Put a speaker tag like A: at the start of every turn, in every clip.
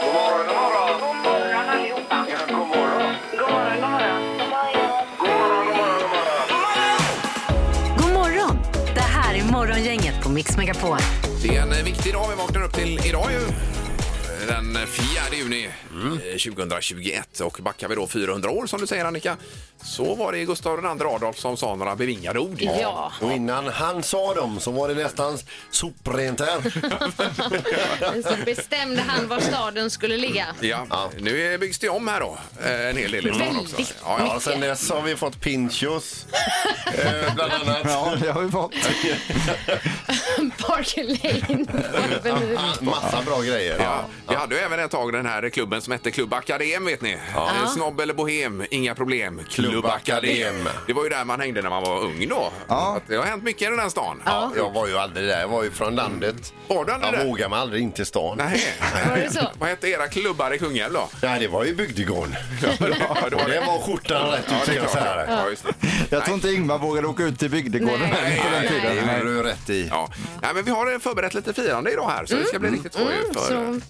A: God morgon, god morgon.
B: God morgon allihopa.
A: Ja, god morgon.
B: God morgon, god morgon.
A: God morgon, god morgon, god morgon.
C: God morgon! Det här är Morgongänget på Mix Megapol.
D: Det är en eh, viktig dag vi vaknar upp till idag ju. Eh, Den 4 juni
E: Mm.
D: eh, 2021 och backar vi då 400 år som du säger Annika så var det Gustav II Adolf som sa några bevingade ord.
F: Ja.
E: Och innan han sa dem så var det nästan soprent här.
F: Så bestämde han var staden skulle ligga.
D: Ja, nu är- byggs det om här då eh, en hel del i stan också.
F: Väldigt
D: Ja, ja.
E: Ja, sen eh, dess har vi fått pinchos, eh, bland annat.
G: Ja, det har vi fått.
F: Park Lane. Avenue.
E: Massa bra grejer.
D: Ja, vi hade ju även ett tag den här klubben som hette Klubb Akadem vet ni. Eh, Snobb eller bohem, inga problem.
E: Klubb Akadem.
D: Det var ju där man hängde när man var ung då. Att det har hänt mycket i den här stan.
E: Ja, jag var ju aldrig där. Jag var ju från landet.
D: Var du aldrig
E: jag
D: där?
E: vågade mig aldrig in till stan. Nej,
D: Nej.
F: Var det så?
D: Vad hette era klubbar i Kungälv då?
E: det var ju bygdegården.
D: Ja, det var
E: Och det
D: det.
E: var skjortan rätt
D: Ja,
E: ut, ska
D: det är
E: jag
D: klart.
E: säga. dig.
D: Ja, just det.
G: Jag tror inte Ingmar vågade åka ut till bygdegården
F: Nej.
G: heller på den
F: Nej,
G: tiden.
E: Det
G: Nej.
E: har du rätt i.
D: Mm. Ja. Nej, men vi har förberett lite firande idag här så det ska bli riktigt skoj. För,
F: Så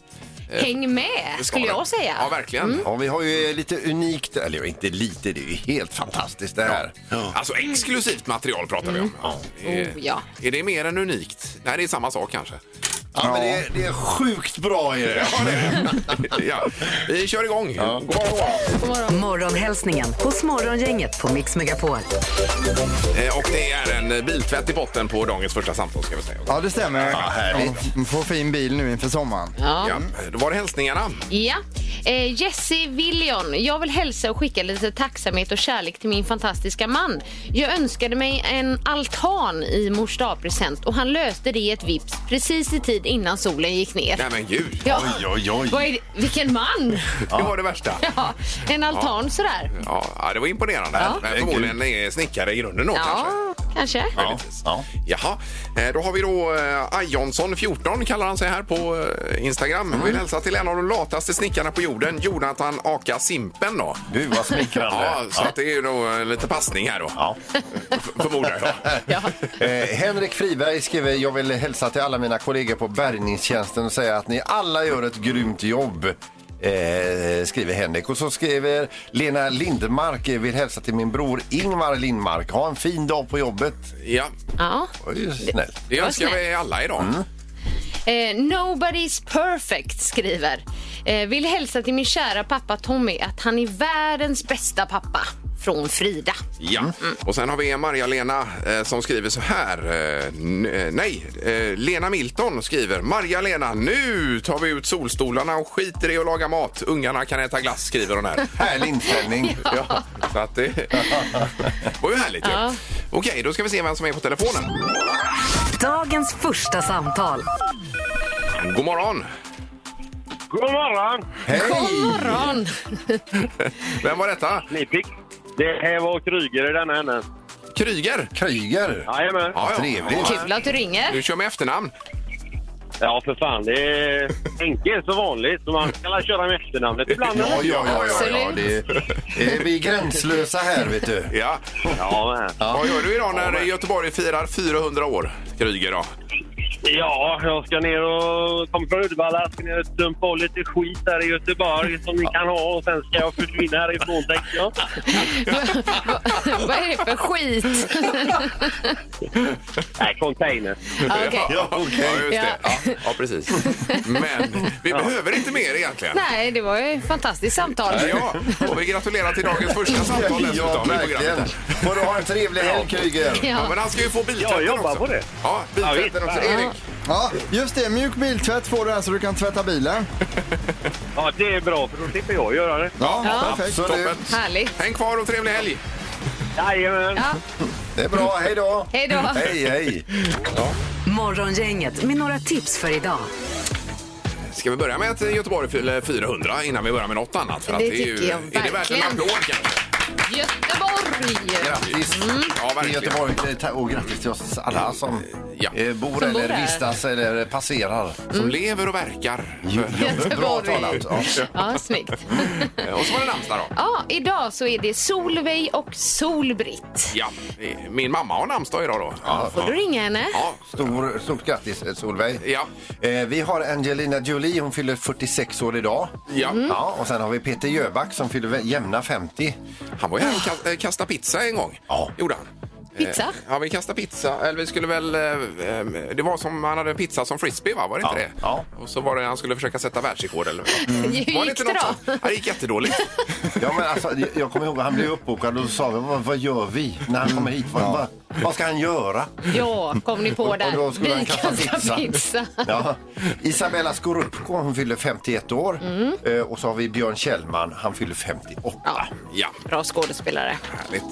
F: häng med, Mm. skulle jag säga. Mm.
D: Ja, verkligen.
E: Mm. Ja, vi har ju eh, lite unikt, eller inte lite, det är ju helt fantastiskt det här.
D: Alltså exklusivt material pratar vi om. Är,
F: Oh, ja.
D: är det mer än unikt? Nej, det är samma sak kanske.
E: Ja, men det är, det är sjukt bra i det.
D: ja. Vi kör igång. Ja.
C: Morgonhälsningen hos Morgongänget på Mix Megapol.
D: Eh, Och det är en biltvätt i botten på dagens första samtal ska vi säga.
G: Ja, det stämmer.
E: härligt.
G: Man får fin bil nu inför sommaren.
F: Ja.
D: Ja. Eh, Då var det hälsningarna.
F: Ja. Eh, Jesse Willion, jag vill hälsa och skicka lite tacksamhet och kärlek till min fantastiska man. Jag önskade mig en altan i mors dagpresent och han löste det i ett vips precis i tid innan solen gick ner.
D: Nej men gud,
F: Ja.
E: Oj, oj, oj.
F: Vad är det? Vilken man!
D: det var det värsta.
F: Ja, en altan sådär.
D: Ja, ja, det var imponerande.
F: Ja.
D: Men förmodligen är snickare i grunden då kanske.
F: Ja, kanske.
D: Ja.
E: Ja.
D: Jaha, Eh, då har vi då eh, Ajonsson14 kallar han sig här på eh, Instagram. Vill hälsa till en av de lataste snickarna på jorden, Jonathan Aka Simpen då.
E: Gud vad smickrande.
D: Ja, så att det är ju då eh, lite passning här då.
E: Ja.
D: F- Förmodar jag.
E: Eh, Henrik Friberg skriver jag vill hälsa till alla mina kollegor på bärgningstjänsten och säga att ni alla gör ett grymt jobb. Eh, skriver Henrik. Och så skriver Lena Lindmark eh, vill hälsa till min bror Ingmar Lindmark. Ha en fin dag på jobbet.
D: Ja,
F: Ja.
E: Oj, snällt.
D: det önskar vi alla idag.
F: Eh, nobody's perfect skriver. Eh, vill hälsa till min kära pappa Tommy att han är världens bästa pappa. Från Frida.
D: Ja. Och sen har vi Marja-Lena eh, som skriver så här. Eh, n- eh, nej, eh, Lena Milton skriver Marja-Lena, nu tar vi ut solstolarna och skiter i att laga mat. Ungarna kan äta glass, skriver hon här.
E: Härlig inställning.
D: Ja, så att det var ju härligt ju. Okej, då ska vi se vem som är på telefonen.
C: Dagens första samtal.
D: God morgon!
A: God morgon.
F: God morgon!
D: Vem var detta?
A: Ni fick. Det här var Kryger i denna änden.
D: Kryger?
E: Kryger.
A: Jajamän.
D: Ja, ja.
E: Trevligt.
F: Kul att du ringer.
D: Du kör med efternamn.
A: Ja, för fan. Det är... Henke är så vanligt, så man kan alla köra med efternamnet ibland.
E: Ja, ja, ja, ja, ja.
F: Absolut.
E: Det är, vi är gränslösa här, vet du.
D: Ja.
A: Ja, men.
D: Vad gör du idag när Göteborg firar 400 år? Kryger då?
A: ja, jag ska ner och... Kommer från Uddevalla. Ska ner och dumpa av lite skit där i Göteborg som ni kan ha. Och sen ska jag försvinna härifrån, tänkte jag.
F: Vad är det för skit?
A: Nej, container.
F: Okej.
D: Ja, ja, just det.
F: Ja.
D: Ja. ja, precis. Men vi behöver inte mer egentligen.
F: Nej, det var ju ett fantastiskt samtal.
D: Ja, och vi gratulerar till dagens första samtal
E: Ja,
D: dessutom. i
E: verkligen.
D: programmet.
E: Får du ha en trevlig helg, Kryger.
D: Ja,
F: Ja.
D: men han ska ju få biltvätten
A: Jag jobbar på
D: också.
A: det.
D: Ja, biltvätten
A: Ja,
D: också.
A: visst.
D: Erik,
G: Ja, just det. Mjuk biltvätt får du här så du kan tvätta bilen.
A: Ja, det är bra, för då slipper jag göra det.
G: Ja,
F: Ja.
G: perfekt.
D: toppen.
F: Härligt.
D: Häng kvar och trevlig helg.
A: Jajamän.
F: Ja.
E: Det är bra. Hej då.
F: Hej då.
E: Hej, hej.
C: Morgongänget med några tips för idag.
D: Ska vi börja med att Göteborg fyller 400 innan vi börjar med något annat? För att
F: Det
D: är ju,
F: tycker jag
D: Är det värt en
F: verkligen.
D: applåd kanske?
F: Göteborg!
E: Grattis.
D: Ja,
E: till
D: verkligen.
E: Göteborg och grattis till oss alla som
D: Ja.
E: Eh, bor
F: Som bor
E: eller
F: där.
E: vistas eller passerar.
D: Som
F: Mm.
D: lever och verkar.
E: Bra
F: Göteborg.
E: talat. Ja.
F: Ja, snyggt.
D: och så var det namnsdag då.
F: Ja, idag så är det Solveig och Solbritt.
D: Ja, eh, min mamma har namnsdag idag då. Ja. Eh.
F: Får du ringa henne?
D: Ja.
E: Stor, stort grattis eh, Solveig.
D: Ja.
E: Eh, vi har Angelina Jolie, hon fyller 46 år idag.
D: Ja.
F: Mm.
E: Ja, och sen har vi Peter Jöback som fyller vä- jämna 50.
D: Han var ju här och kast, eh, kastade pizza en gång.
E: Ja.
D: Gjorde han.
F: Pizza?
D: Eh, Ja, vi kastade pizza. Eller vi skulle väl... eh, eh, Det var som han hade pizza som frisbee, va? Var det inte
E: Ja.
D: det?
E: Ja.
D: Och så var det han skulle försöka sätta världsrekord eller
F: Hur
D: Var
F: gick
D: inte
F: det
D: något
F: då?
D: sånt? Ja, det gick jättedåligt.
E: Ja, men alltså, jag- jag kommer ihåg att han blev uppbokad och då sa vi, vad, vad gör vi när han kommer hit? Vad, vad, vad ska han göra?
F: Ja, kom ni på
E: Och
F: där.
E: då skulle han kasta pizza.
F: pizza.
E: Ja. Isabella Scorupco, hon fyller 51 år. Eh, och så har vi Björn Kjellman, han fyller 58.
F: Mm. Ja,
D: Ja,
F: bra skådespelare.
D: härligt.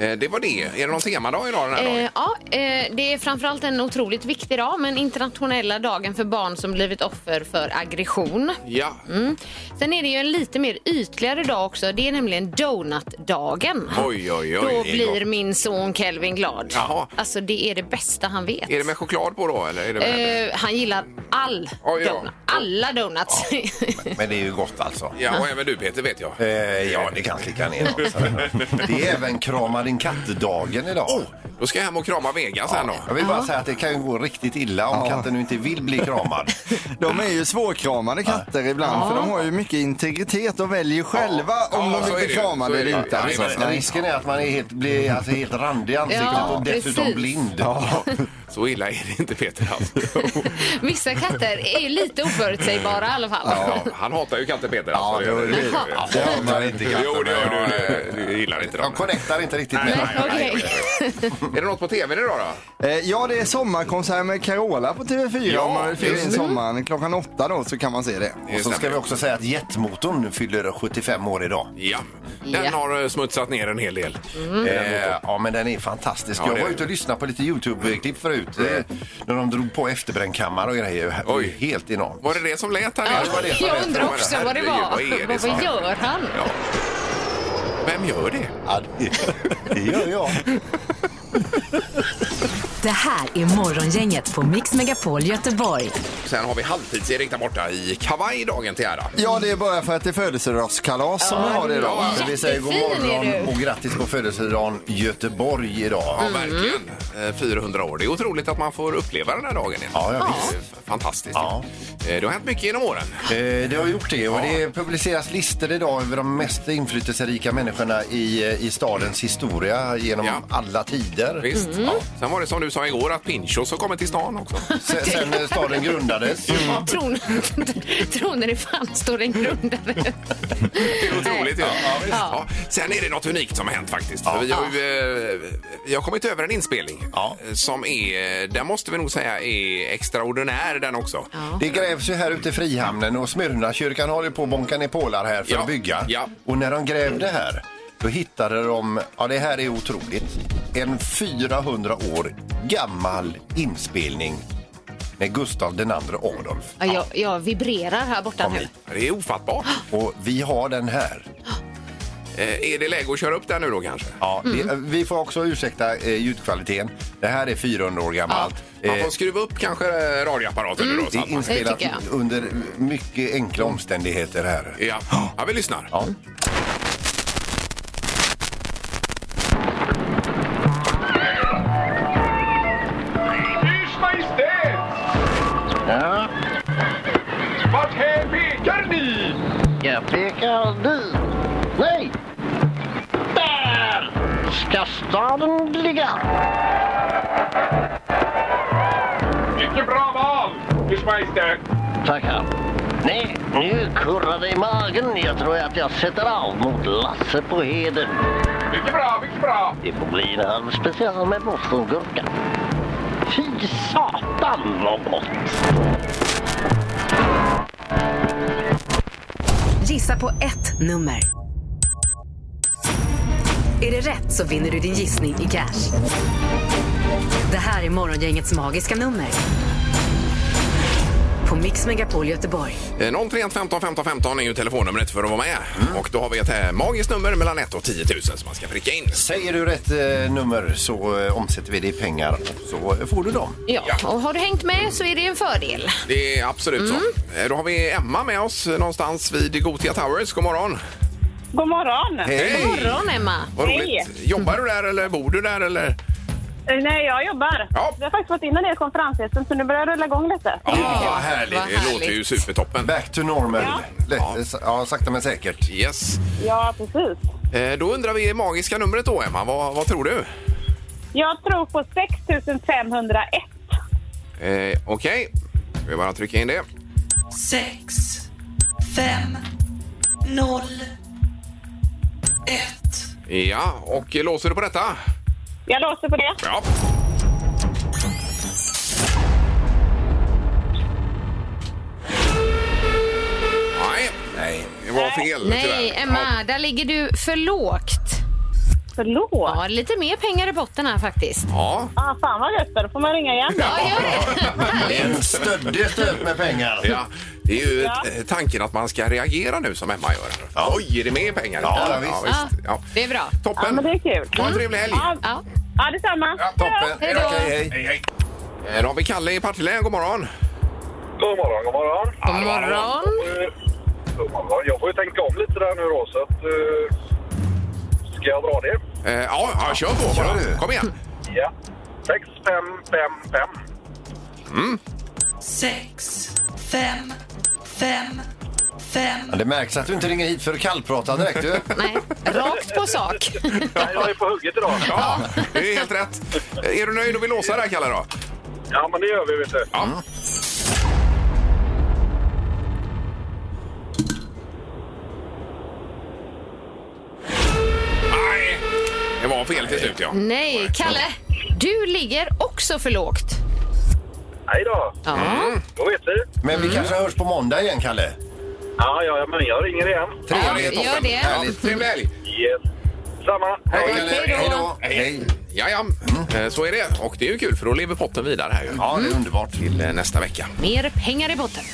D: Eh, Det var det. Är det någon temadag idag den här dagen?
F: Eh, ja, eh, det är framförallt en otroligt viktig dag, men internationella dagen för barn som blivit offer för aggression.
D: Ja.
F: Mm. Sen är det ju en lite mer ytligare dag också. Det är nämligen donutdagen.
D: Oj, oj, oj.
F: Då blir min son Kelvin glad.
D: Jaha.
F: Alltså det är det bästa han vet.
D: Är det med choklad på då? Eller är det med...
F: Eh, han gillar all
D: Oj då.
F: donut. Alla donuts.
E: Men det är ju gott alltså.
D: Ja, och även du Peter vet jag.
E: Eh, ja, det kan klicka ner något. Det är även krama din katt-dagen idag.
F: Oh.
D: Då ska jag hem och krama Vega sen då.
E: Jag vill bara säga att det kan ju gå riktigt illa om katten nu inte vill bli kramad.
G: De är ju svårkramade katter ibland för de har ju mycket integritet och väljer själva om
D: Ja,
G: de
D: så
G: vill bli
D: är det ju. Så
G: kramade
D: är det
G: eller
D: ju.
G: inte.
D: Ja,
G: alltså.
D: men-
G: Nej.
E: Risken är att man är helt, blir alltså helt randig i ansiktet
F: Ja,
E: och dessutom
F: precis.
E: blind.
D: Så illa är det inte Peter alltså.
F: Vissa katter är ju lite oförutsägbara i alla fall.
D: Ja, han hatar ju katter Peter.
G: Ja,
D: Alltså,
G: det gör du.
E: Ja, det har man inte katten.
D: Jo, det gör du. Det- Du gillar inte dem.
E: De connectar inte riktigt med
D: Nej,
E: den.
D: nej, nej,
F: Okej.
D: Är det något på tv idag då?
G: Eh, Ja, det är sommarkonsert med Carola på TV4
D: Ja,
G: om man vill fylla in
D: just det.
G: sommaren. Klockan åtta då så kan man se det.
E: Och så ska vi också säga att jetmotorn nu fyller 75 år idag.
D: Ja, den
F: Ja. Mm.
D: har eh, smutsat ner en hel del.
E: Eh, ja, men den är fantastisk.
D: Ja, det
E: jag
D: är
E: var
D: det.
E: ute och lyssnade på lite YouTube-klipp förut. Eh, när de drog på efterbrännkammare och grejer.
D: Oj.
E: Oj. Helt enormt.
D: Var det det som lät här
F: Ja,
D: nere? Var det som
F: jag
D: lät?
F: undrar
D: Men
F: också vad det
D: herregud,
F: var.
D: Vad är det som...
F: Vad gör han?
D: Ja. Vem gör det?
E: Ja, det, det gör jag.
C: Det här är Morgongänget på Mix Megapol Göteborg.
D: Sen har vi halvtids-Erik där borta i kavaj dagen till ära.
G: Ja, det är bara för att det är födelsedagskalas som vi har det idag.
E: Så vi säger god
F: Jättefin är
E: morgon
F: du.
E: och grattis på födelsedagen Göteborg idag.
D: Ja, verkligen. Eh, 400 år. Det är otroligt att man får uppleva den här dagen. igen.
E: Ja, ja, visst.
D: Det är Fantastiskt.
E: Ja.
D: Eh, Det har hänt mycket genom åren.
E: Eh, det har gjort det och det publiceras listor idag över de mest inflytelserika människorna i, eh, i stadens historia genom
D: Ja.
E: alla tider.
D: Visst. Ja. Sen var det som du sa igår att Pinchos har kommit till stan också.
E: Sen, sen eh, staden grundades.
F: Tror ni, tror ni det fanns då den grundade?
D: Det är otroligt ju.
E: ja, visst.
D: Ja. Sen är det något unikt som har hänt faktiskt. För Vi har ju, eh, vi har kommit över en inspelning
E: Ja.
D: eh, som är, den måste vi nog säga är extraordinär den också.
E: Det grävs ju här ute i Frihamnen och Smyrnakyrkan håller på att bonka ner pålar här för
D: Ja,
E: att bygga.
D: ja.
E: Och när de grävde här, då hittade de, ja det här är otroligt, en 400 år gammal inspelning med Gustav II Adolf.
F: Ja, jag, jag vibrerar här borta nu.
D: Det är ofattbart.
E: Och vi har den här.
D: Eh, Är det läge att köra upp den nu då kanske?
E: Ja, vi, vi får också ursäkta eh, ljudkvaliteten. Det här är 400 år gammalt.
D: Man
E: Eh, Mm.
D: får skruva upp kanske eh, radioapparaten nu då.
E: det
D: Så
E: är
D: att man...
E: inspelat
F: tycker jag.
E: under mycket enkla omständigheter här.
D: ja. ja, vi lyssnar.
E: Ja.
H: Ers Majestät!
I: Ja,
H: Vart hän pekar ni?
I: jag pekar dit. Nej! Där ska staden ligga.
H: Vilket bra val, Ers Majestät!
I: Tackar. Nej, nu kurrar det i magen. Jag tror att jag sätter av mot Lasse på Heden.
H: Mycket bra, mycket bra!
I: Det får bli en halv special med morsgurka. Fy satan vad gott!
C: Gissa på ett nummer. Är det rätt så vinner du din gissning i cash. Det här är Morgongängets magiska nummer. På på Mix Megapol Göteborg.
D: Eh, 031 15 15 15 är ju telefonnumret för att vara med. Och då har vi ett eh, magiskt nummer mellan 1 och 10 000 som man ska pricka in.
E: Säger du rätt eh, nummer så eh, omsätter vi det i pengar och så eh, får du dem.
F: Ja, och har du hängt med så är det en fördel.
D: Det är absolut så. Eh, Då har vi Emma med oss eh, någonstans vid Gotia Towers. God morgon!
B: God morgon!
F: God morgon, Emma.
D: Vad
B: Hej.
D: roligt! Jobbar du där eller bor du där eller?
B: Eh, Nej, jag jobbar.
D: Ja.
B: Vi har faktiskt fått in en del konferensgäster så nu börjar det rulla igång lite.
D: Ja, vad härligt!
F: vad
D: Det låter ju
F: härligt.
D: supertoppen.
E: Back to normal.
B: Ja.
E: Lätt, ja. ja, sakta men säkert.
D: Yes.
B: Ja, precis.
D: Eh, Då undrar vi det magiska numret då, Emma. Vad, vad tror du?
B: Jag tror på 6501.
D: Eh, Okej, vi bara trycka in det. Ja, och låser du på detta?
B: Jag låser på det.
D: Ja. Nej,
E: Nej.
D: det var fel
F: Nej,
D: tyvärr.
F: Emma, där ligger du för lågt.
B: Förlåt! Ja.
F: Ja, lite mer pengar i botten här faktiskt.
D: Ja,
B: Ah, fan vad gött, då får man ringa igen.
F: Ja, gör det.
E: En stöddig stöt med pengar.
D: ja. Det är ju eh, tanken att man ska reagera nu som Emma gör. Oj, är det mer pengar?
E: Ja, visst.
F: Ja,
D: Ja.
F: det är bra.
B: Ja, men det
D: Toppen!
B: är kul.
D: Ha en trevlig helg!
B: Ja,
F: Ja.
B: ja detsamma.
D: Ja,
E: Toppen.
F: Hej då.
E: Okej, hej.
D: Hej, hej! Eh, Då har vi Kalle i Partille. God morgon!
A: God morgon, god morgon.
F: God morgon.
A: Eh, god morgon. Eh, Jag får ju tänka om lite där nu då, så att... eh, ska jag dra det?
D: Eh, Ja, ja, kör på bara. Kom igen!
A: Ja. 6, 5, 5, 5.
E: Ja, det märks att du inte ringer hit för att kallprata direkt du.
F: Nej, rakt på sak.
A: Nej, jag är på hugget idag.
D: Ja, det är helt rätt. Eh, Är du nöjd och vill låsa där, Kalle? Då?
A: Ja, men det gör vi, vet du.
D: Mm. Nej, det var fel till slut, ja.
B: Mm.
F: Nej, Kalle. Du ligger också för lågt.
A: Hej då.
F: Ja.
A: Då vet vi.
E: Men vi kanske hörs på måndag igen Kalle.
A: Ja, ja, ja, men jag ringer igen.
D: Ja, det är
F: Gör
D: toppen.
F: det.
D: Härligt. Trevlig helg!
A: Yes. Samma.
D: eh, Hej,
E: Kalle.
D: Kalle.
E: Hej då. Hej.
D: Ja, ja. Eh, så är det. Och det är ju kul för då lever potten vidare här ju.
E: Ja, det är underbart.
D: Till eh, nästa vecka.
F: Mer pengar i botten.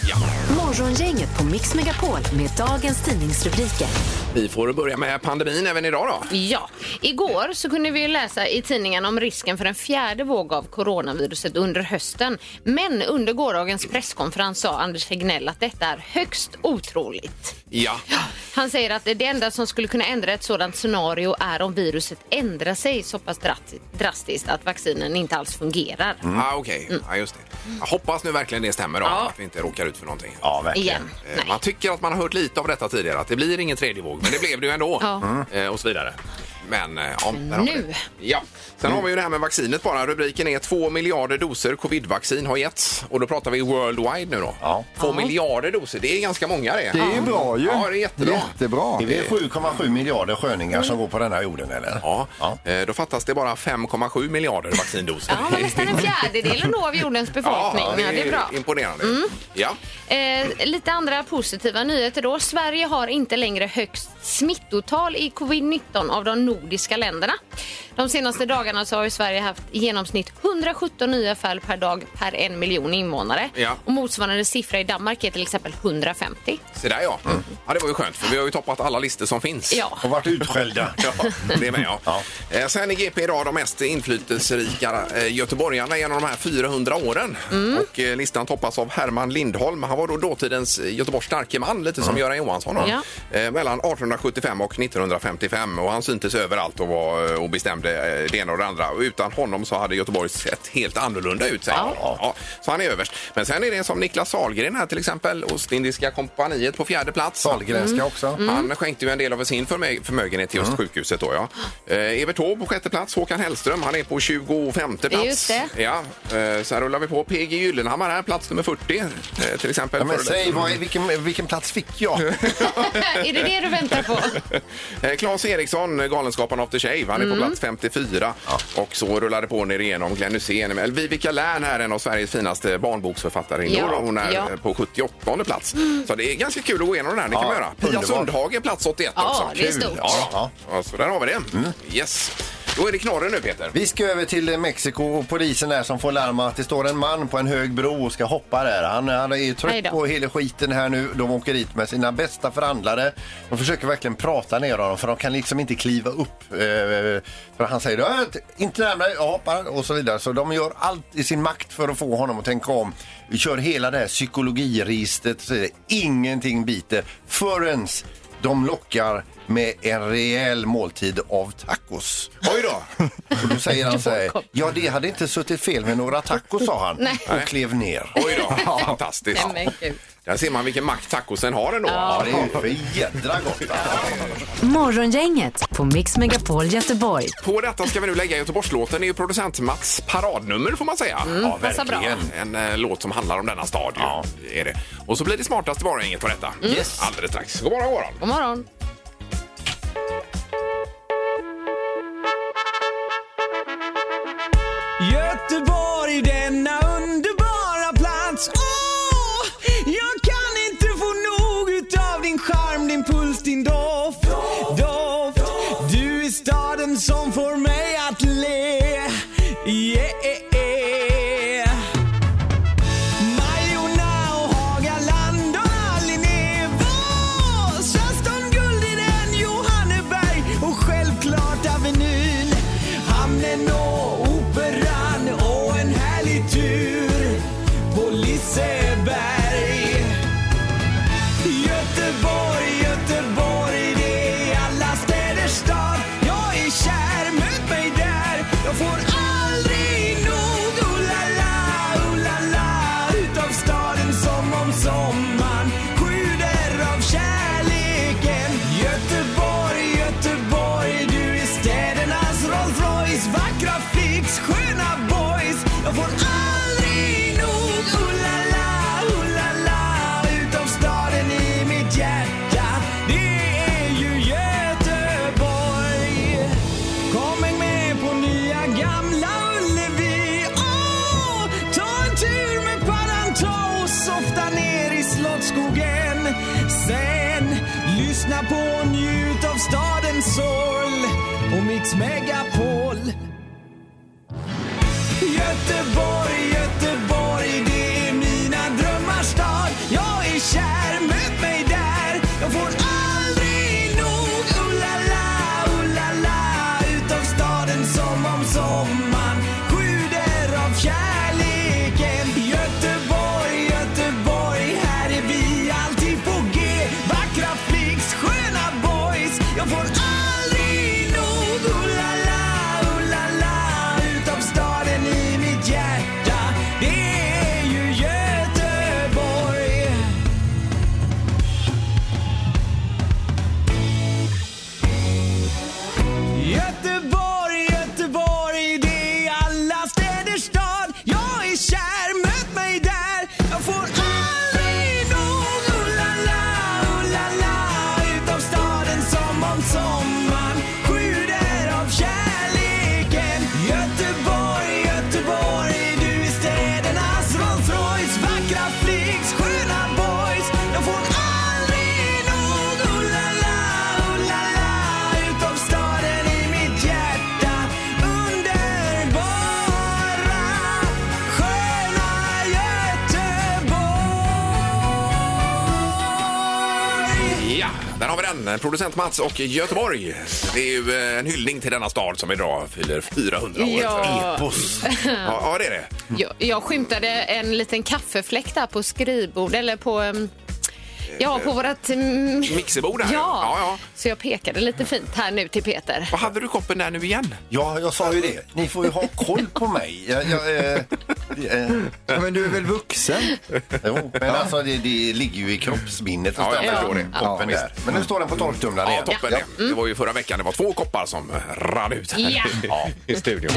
C: Morgongänget på Mix Megapol med dagens tidningsrubriker.
D: Vi får börja med pandemin även idag då.
F: Ja, igår så kunde vi ju läsa i tidningen om risken för en fjärde våg av coronaviruset under hösten. Men under gårdagens presskonferens sa Anders Tegnell att detta är högst otroligt.
D: Ja.
F: Han säger att det enda som skulle kunna ändra ett sådant scenario är om viruset ändrar sig så pass drat- drastiskt att vaccinen inte alls fungerar.
E: Mm.
D: Ah, Okej, ja, just det. Jag hoppas nu verkligen det stämmer då,
F: Ja.
D: att vi inte råkar ut för någonting.
E: Ja, verkligen.
F: Igen.
D: Eh,
F: Nej.
D: Man tycker att man har hört lite av detta tidigare, att det blir ingen tredje våg, men det blev det ju ändå.
F: Ja.
D: Eh, Och så vidare. Men eh, ja, där har vi
F: Nu.
D: det. Ja. Sen har vi ju det här med vaccinet bara. Rubriken är 2 miljarder doser covid-vaccin har getts. Och då pratar vi worldwide nu då.
E: Ja.
D: 2 miljarder doser, det är ganska många det.
G: Det är ju bra ju.
D: Ja, det är jättebra.
G: Jättebra.
E: Är vi 7,7 miljarder sköningar som går på den här jorden eller?
D: Ja,
E: Ja.
D: eh, då fattas det bara 5,7 miljarder vaccindoser.
F: Ja, men nästan en fjärdedel ändå av jordens
D: Ja,
F: befolkning. Ja, det är bra.
D: imponerande. Ja.
F: Eh, lite andra positiva nyheter då. Sverige har inte längre högst smittotal i covid-19 av de nordiska länderna. De senaste dagarna så har ju Sverige haft i genomsnitt 117 nya fall per dag per en miljon invånare.
D: Ja.
F: Och motsvarande siffra i Danmark är till exempel 150.
D: Se där ja. ja. Det var ju skönt för vi har ju toppat alla listor som finns.
F: Ja.
E: Och varit utskällda.
D: Ja, det är med ja.
E: Ja.
D: Eh, Sen är GP idag de mest inflytelserika eh, göteborgarna genom de här 400 åren. Och eh, listan toppas av Herman Lindholm. Han var då dåtidens eh, Göteborgs starke man, lite som Göran Johansson. då.
F: Ja.
D: Eh, Mellan 1875 och 1955 och han syntes överallt och, var, och bestämde eh, det ena och det andra. Och utan honom så hade Göteborg sett helt annorlunda ut. Säger han. Ja, så han är överst. Men sen är det som Niklas Sahlgren här till exempel, Ostindiska kompaniet på fjärde plats.
E: Sahlgrenska
F: Mm.
E: också.
D: Han skänkte ju en del av sin förmö- förmögenhet till just
E: Mm.
D: sjukhuset. Då, ja. eh, Evert Taube på sjätte plats, Håkan Hellström han är på 25 plats.
F: Just det.
D: Ja, eh, sen rullar vi på. PG Gyllenhammar här, plats nummer 40 eh, till exempel.
E: Ja, men
D: Före-
E: säg, vad, vilken, vilken plats fick jag?
F: är det det du väntar på?
D: Eh, Claes Eriksson, eh, Galenskaparna After Shave, han är
F: Mm.
D: på plats 54. Och så rullar det på ner igenom Glenn Hysén. Eller Vivica Lärn här, en av Sveriges finaste barnboksförfattarinnor.
F: Ja,
D: Hon är
F: ja. Mm.
D: eh, på 78 plats. Så det är ganska kul att gå igenom den här. Det kan
E: Ja,
D: man göra. Pia
E: underbart.
D: Sundhage, plats 81
F: Ja,
D: också.
F: det är
D: Kul.
F: stort.
D: Mm. Ja, ja. så där har vi det. Yes. Då är det knorren nu Peter.
E: Vi ska över till eh, Mexiko och polisen här som får larma att det står en man på en hög bro och ska hoppa där. Han, han är ju
F: Hej
E: trött
F: då.
E: på hela skiten här nu. De åker dit med sina bästa förhandlare. De försöker verkligen prata ner honom för de kan liksom inte kliva upp. eh, För han säger "Äh, t- inte närmare, jag hoppar och så vidare. Så de gör allt i sin makt för att få honom att tänka om. Vi kör hela det här psykologiregistret. och så vidare. Ingenting biter förrän de lockar med en rejäl måltid av tacos.
D: Oj då!
E: Och då säger han så här, ja det hade inte suttit fel med några tacos sa han och klev ner.
D: Oj då. Fantastiskt.
F: Nej, men gud.
D: Där ser man vilken makt tacosen har ändå.
E: Ja, det är ju för jädra gott alltså.
C: Morgongänget på Mix Megapol Göteborg.
D: På detta ska vi nu lägga Göteborgslåten. Det är ju producent Mats paradnummer får man säga. ja,
F: passar Mm. bra.
D: En eh, låt som handlar om denna stad. Ja. Är det. Och så blir det smartaste bara inget på detta. Yes. Alldeles strax. God morgon, god morgon.
F: God morgon.
J: Göteborg, denna underbara plats Åh, jag kan inte få nog utav din charm, din puls, din doft, doft Du är staden som får mig att le Yeah Majorna och Hagaland och Alliné Vår Svensson Guld i den Johanneberg och självklart Avenyn Hamnen och Operan och en härlig tur på Liseberg Göteborg, Göteborg, det är alla städers stad. Jag är kär, möt mig där. Jag får aldrig nog. Oh la la, oh la la. Utav staden som om sommaren sjuder av kärleken. Göteborg, Göteborg, du är städernas Rolls Royce. Vackra flicks, sköna boys. Jag får aldrig nog. Oh la la, oh la la. Utav staden i mitt hjärta. Det är ju Göteborg. Kom häng med på nya gamla Ullevi. Åh, ta en tur med paddan, ta och softa ner i Slottsskogen. Sen lyssna på och njut av stadens sorl och Mix Megapol. Göteborg, Göteborg, det är mina drömmars stad. Jag är kär, möt mig där. Jag får aldrig nog. Oh la la, oh la la. Utav staden som om sommaren sjuder av kärleken. Göteborg, Göteborg, här är vi alltid på G. Vackra flicks, sköna boys. Jag får aldrig nog. Oh la la, oh la la. Utav staden i mitt hjärta. Det är ju Göteborg. Göteborg, Göteborg, det är alla städers stad. Jag är kär, möt mig där. Jag får aldrig nog. Oh la la, oh la la. Utav staden som om sommaren sjuder av kärleken. Göteborg, Göteborg, du är städernas Rolls Royce. Vackra flicks, sköna boys. Jag får aldrig nog. Oh la la, oh la la. Utav staden i mitt hjärta. Underbara, sköna Göteborg.
D: Ja, där har vi den. Producent Mats och Göteborg. Det är ju eh, en hyllning till denna stad som idag fyller 400 år.
F: Ja.
D: Epos. Ja, ja, det är det.
F: Jag, jag skymtade en liten kaffefläck där på skrivbord eller på... ehm, Ja, på vårat... mm,
D: Mixerbord
F: Ja.
D: här. ja, ja.
F: så jag pekade lite fint här nu till Peter.
D: Vad hade du koppen där nu igen?
E: Ja, jag sa ju det. Ni får ju ha koll på mig. Jag, jag, eh, eh,
G: Ja, men du är väl vuxen?
E: jo, men alltså det, det ligger ju i kroppsminnet.
D: Ja, jag
E: stämma
D: förstår det.
E: koppen
D: Ja,
E: där. Men nu står den på torktumlaren
D: Ja,
E: igen.
D: toppen.
E: Ja.
D: Det. det var ju förra veckan. Det var två koppar som rann ut här
F: Ja.
D: ja, i studion.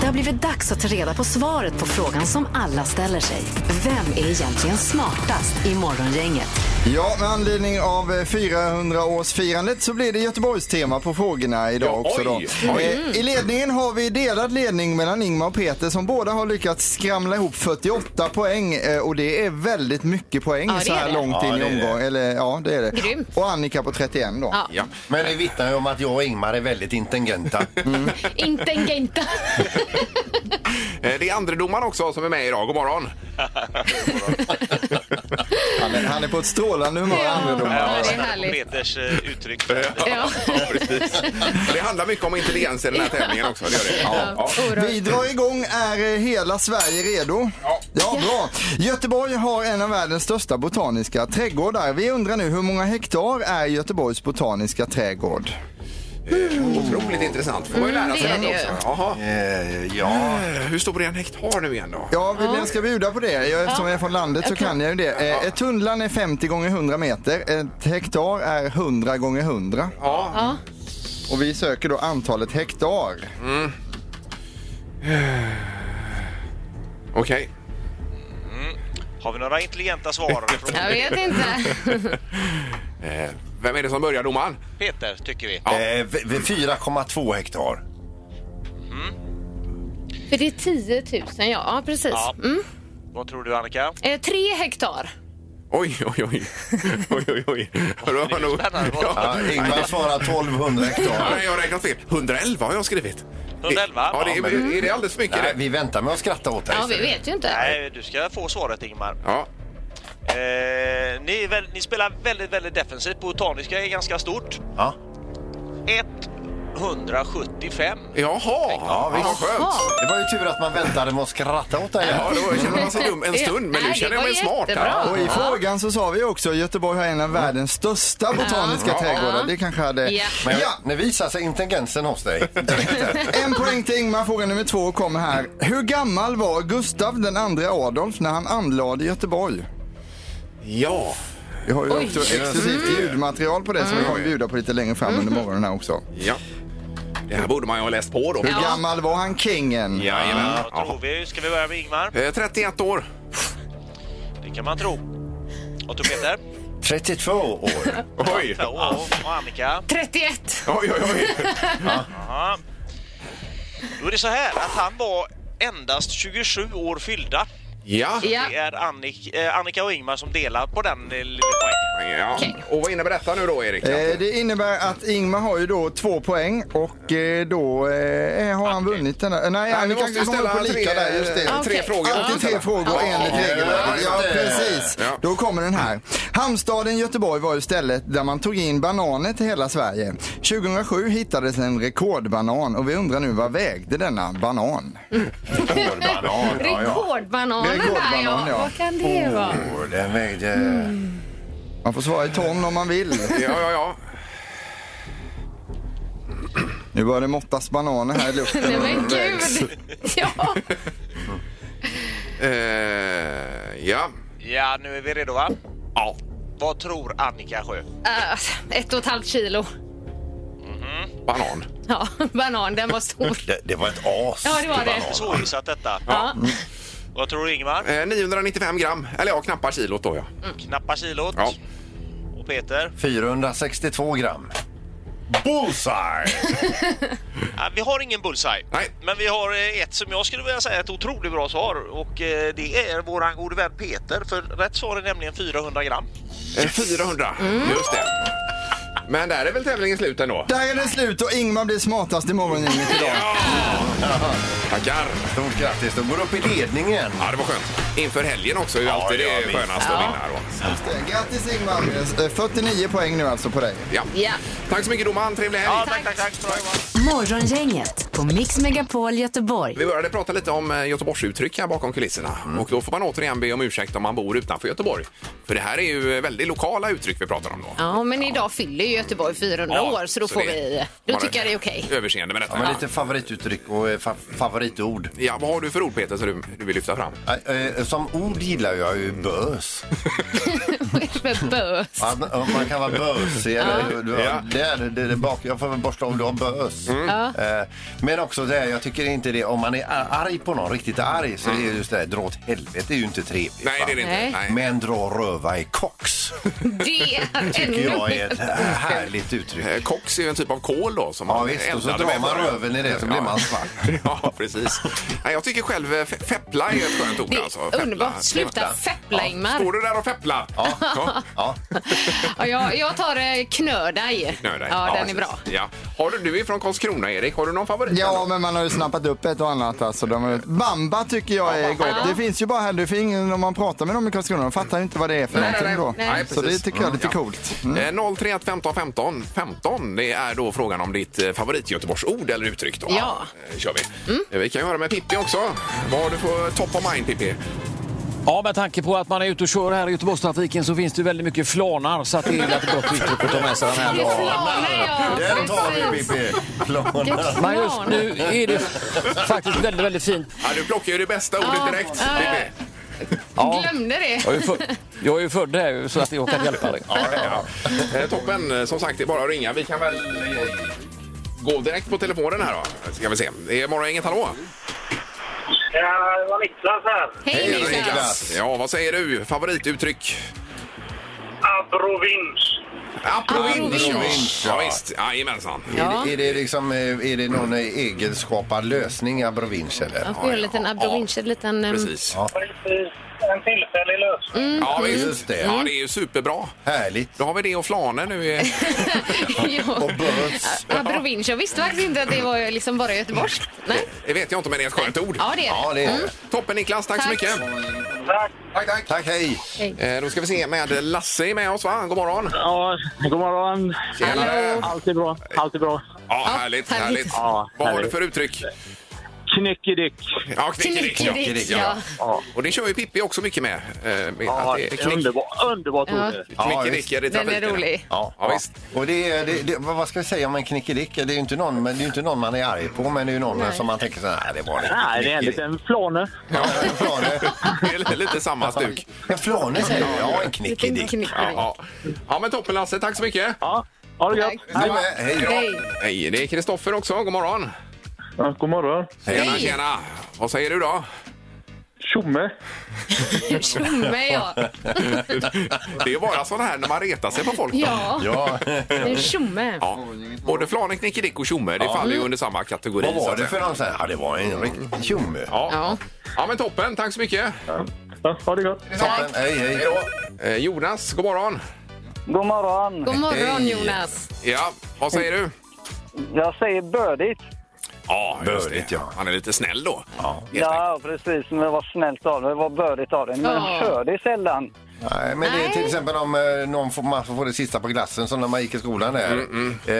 C: Det har blivit dags att ta reda på svaret på frågan som alla ställer sig. Vem är egentligen smartast i Morgongänget?
G: Ja, med anledning av eh, 400-årsfirandet så blir det Göteborgstema på frågorna idag
D: Ja,
G: också. Då.
D: oj, oj.
G: Eh, I ledningen har vi delad ledning mellan Ingmar och Peter som båda har lyckats skramla ihop 48 poäng eh, och det är väldigt mycket poäng
F: Ja, det
G: så här
F: är det.
G: långt
E: Ja,
G: in i
E: det är det.
G: omgången. Eller, ja, det är det.
F: Grymt.
G: Och Annika på 31 då.
F: Ja.
D: Ja.
E: Men det vittnar ju om att jag och Ingmar är väldigt intelligenta.
D: Mm.
F: Inte en genta.
D: Eh, Det är andredomaren också som är med idag. God morgon!
G: Han, är, han är på ett strålande humör,
F: Ja.
G: andredomaren.
F: det är härligt.
K: Peters eh, uttryck.
F: Ja.
D: precis. Det handlar mycket om intelligens i den här tävlingen också. Det gör det. Ja. Ja.
F: Oerhört.
G: Vi drar igång. Är eh, hela Sverige redo?
D: Ja.
G: bra. Göteborg har en av världens största botaniska trädgårdar. Vi undrar nu hur många hektar är Göteborgs botaniska trädgård?
D: Otroligt intressant. får man ju lära sig
F: Mm, det är
D: något
F: det
D: också. Jaha.
E: Eh, ja.
D: Eh, Hur stor är en hektar nu igen då?
G: Ja, vill ni ska bjuda på det? Jag, eftersom jag är från landet så kan jag ju det. Eh, Ett tunnland är 50 gånger 100 meter. Ett hektar är 100 gånger 100.
D: Ja.
G: Och vi söker då antalet hektar.
D: Okej.
K: Har vi några intelligenta svar? från
F: Jag vet inte.
D: Eh, Vem är det som börjar domaren?
K: Peter, tycker vi.
E: Eh, v- v- 4,2 hektar.
F: För det är 10 000, ja. Ja, precis.
K: Ja.
F: Mm.
K: Vad tror du, Annika?
F: Eh, tre hektar.
D: Oj, oj, oj. oj, oj, oj. Det
K: Det är ju spännande.
E: Ja, Ingmar svarar 1200
D: Ja,
E: hektar.
D: nej, jag har räknat fel. 111 har jag skrivit.
K: 111?
D: Ja, det
E: Ja,
D: är,
E: men-
D: är det alldeles för mycket?
E: Nej,
D: det?
E: vi väntar med att skratta åt dig.
F: Ja, vi vet ju inte.
K: Nej, du ska få svaret, Ingmar.
D: Ja.
K: Eh, ni, är väl, ni spelar väldigt, väldigt defensivt. Botaniska är ganska stort.
E: Ja.
K: 175.
D: Jaha! Ja, vad skönt.
F: Ja.
E: Det var ju tur att man väntade med att skratta åt dig.
D: Ja, då känner man sig dum en stund, men nu
F: Nej,
D: känner
F: det
D: jag mig
F: var
D: smart.
F: jättebra.
D: här.
G: Och i frågan så sa vi också att Göteborg har en av världens största botaniska
D: Ja.
G: trädgårdar. Det kanske hade...
F: Ja.
E: Men
G: Ja.
E: nu visar sig intelligensen hos dig.
G: En poäng till Ingmar. Fråga nummer två kommer här. Hur gammal var Gustav den andre Adolf när han anlade Göteborg?
D: Ja.
G: Vi har ju
F: Oj.
G: också
D: Mm.
G: exklusivt ljudmaterial på det som vi kommer bjuda på lite längre fram under morgonen här också.
D: ja. Det här borde man ju ha läst på då.
G: Hur gammal var han kingen?
D: Jajamän.
K: Vad tror vi? Ska vi börja med Ingmar?
D: Eh, 31 år.
K: Det kan man tro. Vad tror Peter?
E: 32 år.
D: Oj,
K: Två. Och Annika?
F: 31.
D: oj, oj. oj.
K: Ja. Då är det så här att han var endast 27 år fyllda.
D: Ja.
F: Ja.
K: Det är Annik, eh, Annika och Ingmar som delar på den eh, lilla poängen.
D: ja.
F: Okej.
D: Och vad innebär detta nu då, Erik?
G: Eh, det innebär att Ingmar har ju då två poäng och eh, då eh, har han vunnit den där. eh, Nej,
D: Ah, Nej,
G: han
D: vi
G: kan
D: måste
G: komma upp
D: ställa
G: och lika där, just det.
D: tre, tre
F: Okej.
D: frågor.
G: Alltid tre frågor enligt regelverket. Ja, precis.
D: Ja.
G: Då kommer den här. Hamnstaden Göteborg var ju stället där man tog in bananer till hela Sverige. 2007 hittades en rekordbanan och vi undrar nu vad vägde denna banan?
E: Rekordbanan. Ja, ja.
F: Rekordbananen där
G: Rekordbanan,
F: ja.
G: ja.
F: Vad kan det vara?
E: Oh, Den vägde...
G: Man får svara i ton om man vill.
D: Ja, ja, ja.
G: Nu börjar det måttas bananer här i luften.
F: Nej men gud. Ja.
D: Eh, ja.
K: Ja, nu är vi redo va?
D: Ja.
K: Vad tror Annika Sjö?
F: Eh, ett och ett halvt kilo.
D: Banan.
F: Ja, banan. Den var stor.
E: Det, det var ett as.
F: Ja, det var det.
E: banan.
K: Svårgissat detta.
F: Ja.
K: Vad tror du Ingmar?
D: Eh, 995 gram. Eller ja, knappa kilot då, ja.
K: Knappa kilot.
D: Ja.
K: Och Peter?
E: 462 gram. Bullseye!
K: Ja, vi har ingen bullseye.
D: Nej.
K: Men vi har eh, ett som jag skulle vilja säga är ett otroligt bra svar och eh, det är våran gode vän Peter för rätt svar är nämligen 400 gram.
D: Eh, 400.
E: Mm.
D: Just det. Men där är väl tävlingen slut ändå?
G: Där är det slut och Ingmar blir smartast i morgongänget idag.
D: Tackar.
E: Stort grattis. De går upp i ledningen.
D: Ja, det var skönt. Inför helgen också är ju alltid
E: ja,
D: det
E: visst.
D: skönast att vinna. Då.
G: Grattis Ingmar. Eh, 49 poäng nu alltså på dig.
D: Ja.
F: Ja.
D: Tack så mycket domaren, trevlig helg!
K: Ja, tack, tack, tack. Bra jobbat.
C: Morgongänget på Mix Megapol Göteborg.
D: Vi började prata lite om eh, Göteborgsuttryck här bakom kulisserna
E: Mm.
D: och då får man återigen be om ursäkt om man bor utanför Göteborg. För det här är ju eh, väldigt lokala uttryck vi pratar om då.
F: Ja, men idag fyller ju Göteborg 400
D: Ja,
F: år så då
D: så
F: får
D: det-
F: vi... Då
D: har
F: tycker jag det är okej.
D: Överseende med detta.
E: Ja,
D: Ja,
E: men lite favorituttryck och eh, fa favoritord.
D: vad har du för ord Peter som du, du vill lyfta fram?
E: Eh, eh, Som ord gillar jag ju bös.
F: Vad är det för bös?
E: Ja, men, om man kan vara bösig. Eller, du,
D: Ja.
E: Mm. där, det, det bak, jag får väl borsta om du har bös. Eh, Men också det här, jag tycker inte det, om man är ar- arg på någon, riktigt arg, så är det just det här, dra åt helvete är ju inte trevligt.
D: Mm. Nej, det är det inte. Nej. Nej.
E: Men dra röva i kox
F: Det är
E: tycker
F: ännu
E: jag är ett
F: mer.
E: härligt uttryck.
D: Eh, Koks är ju en typ av kol då. Som
E: Ja, visst, och så
D: eldade
E: drar
D: med
E: man
D: början.
E: röven i det, så blir
D: Ja.
E: man svart.
D: ja, precis. Nej, jag tycker själv eh, fe- feppla är ett skönt ord.
F: Det är
D: Alltså. Feppla.
F: underbart. Sluta feppla, Ingmar.
D: Står du där och feppla?
E: Ja. ja.
F: Ja, jag, jag tar eh, knödaj.
D: Knö dig.
F: Ja, den är bra.
D: precis. Ja. Har du, du är från Karlskrona, Erik. Har du någon favorit?
G: Ja,
D: eller?
G: men man har ju snappat upp ett och annat. Alltså, de har... Bamba tycker jag är gott. Det finns ju bara här, det finns ingen, om man pratar med dem i Karlskrona, de fattar ju inte vad det är för
D: Nej,
G: någonting
D: nej,
G: då.
D: nej. Nej,
G: Så det
D: precis.
G: tycker jag är
D: Mm,
G: lite
D: ja.
G: coolt.
D: Eh, 031 15 15 15. Det är då frågan om ditt eh, favorit-Göteborgsord eller uttryck. Då.
F: Ja. Mm.
D: Eh, kör vi. Eh, Vi kan ju höra med Pippi också. Vad har du för top of mind, Pippi?
L: Ja, med tanke på att man är ute och kör här i Göteborgstrafik så finns det ju väldigt mycket flanar så att det är ett gott uttryck att ta med sig den här dagen.
E: Den tar vi, Pippi! Planar.
L: Men just nu är det faktiskt väldigt, väldigt fint.
D: Ja, du plockar ju det bästa ordet direkt.
F: Ja.
D: Pippi.
L: Ja,
F: Glömde det.
L: jag är ju född, jag är ju född här så att jag kan hjälpa dig.
D: Ja, ja, ja. Eh, Toppen. Eh, Som sagt, det är bara att ringa. Vi kan väl eh, gå direkt på telefonen här då. Ska vi se. Det är Morgongänget, hallå?
A: Ja, det var Niklas här.
F: Hej,
E: Hej,
F: Niklas.
E: Niklas!
D: Ja, vad säger du? Favorituttryck?
A: Abrovins.
D: Approvinch.
E: Approvinch,
D: Ja,
E: ja.
D: visst. Jajamensan.
F: mm.
E: Är, det- är, det liksom, eh, är det någon eh, egenskapad lösning av provinsch eller?
F: Jag får göra en liten abdovinch, en liten... ehm,
D: Precis.
A: Precis. En tillfällig lösning.
F: Mm.
D: Ja, visst.
E: Just det.
D: Ja, det är ju superbra.
E: Härligt.
D: Då har vi det och flaner nu. i-
F: eh, ja.
E: Och birds.
F: Abrovinch. Jag visste faktiskt inte att det var liksom bara göteborgskt. Nej.
D: Det vet jag inte, men det är ett skönt ord.
F: Ja, det är
E: Ja,
F: det.
E: det är det.
D: Toppen, Niklas. Tack, så
F: Tack.
D: mycket.
A: Tack.
D: Mm. Tack, tack.
E: Tack, hej!
D: Eh, då ska vi se med Lasse är med oss, va? God morgon.
A: Ja, god morgon.
D: Tjenare.
A: Allt är bra. Allt är bra.
D: Ja, härligt,
F: härligt.
D: härligt.
A: Ja,
D: Vad har du
A: härligt.
D: för uttryck?
A: Knyckedick.
D: Ja, knickedick. ja.
F: Knickedick, ja.
D: Och det kör ju Pippi också mycket med. eh, med
A: Ja,
D: att det är
A: det är
D: knick,
A: underbar, underbart
F: Ja.
A: ord. det.
E: Ja,
D: knickedick i
F: Den
D: trafiken.
F: är rolig.
D: Ja, ja, visst.
E: Och det är, det, det, vad vad ska jag säga om en knickedick? Det är ju inte någon, men det är ju inte någon man är arg på, men det är ju någon
F: Nej.
E: som man tänker så här, "Nej, det var lite
A: Nej, det är en
E: knickedick."
A: liten flane.
E: Ja, en flane.
D: Det är lite samma stuk.
E: En flane säger du? Ja, en knickedick.
F: Knickedick.
D: Ja, ja. ja, men toppen Lasse. Tack så mycket.
A: Ja, ha det gött.
E: Du med? Hej då!
F: Hej.
D: Hej, det är Kristoffer också. God morgon.
A: Ja, god morgon.
D: Tjena, tjena. Vad säger du då?
A: Tjomme.
F: Tjomme, ja.
D: Det är ju bara sådana här när man retar sig på folk. då.
F: Ja,
E: Ja,
F: en tjomme.
D: Ja. Både flane, knickedick och tjomme, det faller ju under samma kategori.
E: vad
D: så
E: var
D: att
E: det
D: säga.
E: för någon? Så här, Ja, det var en riktig tjomme.
D: Ja.
F: Ja.
D: ja, men toppen. Tack så mycket.
A: Ja, ha det gott.
E: Toppen. Hej, hej.
D: Eh, Jonas, god morgon.
A: God morgon.
F: God morgon,
E: Hej.
F: Jonas.
D: Ja, vad säger du?
A: Jag säger bördigt.
D: Ja, just det.
E: Bördigt, ja.
D: Han är lite snäll då. Ja.
A: Ja, precis. Men det var snällt av dig. Det var bördigt av dig. Men
F: Ja.
A: kör det sällan.
E: Nej, men det är till
F: Nej.
E: exempel om eh, någon får, man får det sista på glassen som när man gick i skolan där.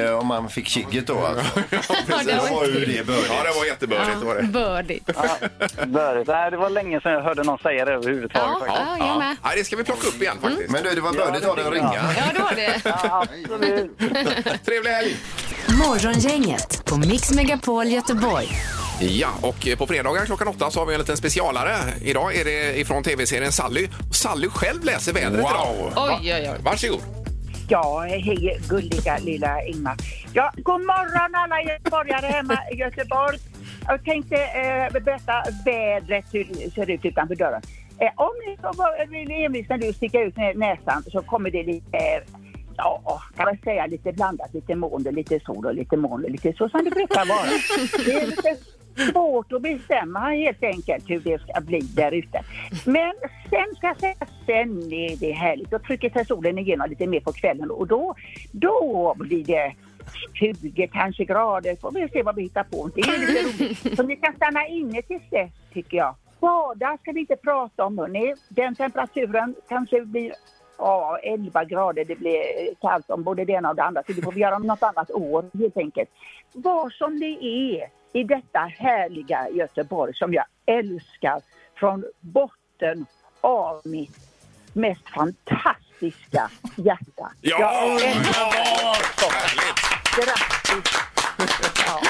E: Eh, om man fick kigget då alltså.
F: Ja, det
E: Då
F: var
E: var ju det bördigt.
D: Ja, det var jättebördigt. Var det.
F: bördigt. Ja,
A: Bördigt. Nej, det var länge sedan jag hörde någon säga det överhuvudtaget.
F: ja,
A: faktiskt.
F: ja, jag med. Mm.
D: Nej, det ska vi plocka upp igen faktiskt.
E: Men du, det var bördigt av dig att ringa.
F: Ja, det var det.
A: Ja, absolut.
D: Trevlig helg!
C: Morgongänget på Mix Megapol Göteborg.
D: Ja, och eh, på fredagar klockan åtta så har vi en liten specialare. Idag är det ifrån tv-serien Sally. Och Sally själv läser vädret idag.
F: Oj, oj, oj.
D: Varsågod!
M: Ja, hej gulliga lilla Ingmar. Ja, god morgon alla göteborgare hemma i Göteborg. Jag tänkte eh, berätta vädret hur det ser ut utanför dörren. Eh, om ni så var- vill envis när du sticker ut nä- näsan så kommer det lite, eh, ja, kan man säga lite blandat, lite moln och lite sol och lite moln och lite så som det brukar vara. Det är lite svårt att bestämma helt enkelt hur det ska bli där ute. Men sen ska jag säga, sen är det härligt. Då trycker sig solen igenom lite mer på kvällen och då, då blir det 20 kanske grader. Får vi se vad vi hittar på. Det är lite roligt. Så ni kan stanna inne tills dess tycker jag. Bada ska vi inte prata om hörni. Den temperaturen kanske blir Ja, 11 grader, det blir eh, kallt om både det ena och det andra. Så det får vi göra om något annat år helt enkelt. Vad som det är i detta härliga Göteborg som jag älskar från botten av mitt mest fantastiska hjärta.
D: Ja!
M: Jag älskar
D: ja! Härligt!
M: Grattis! Ja.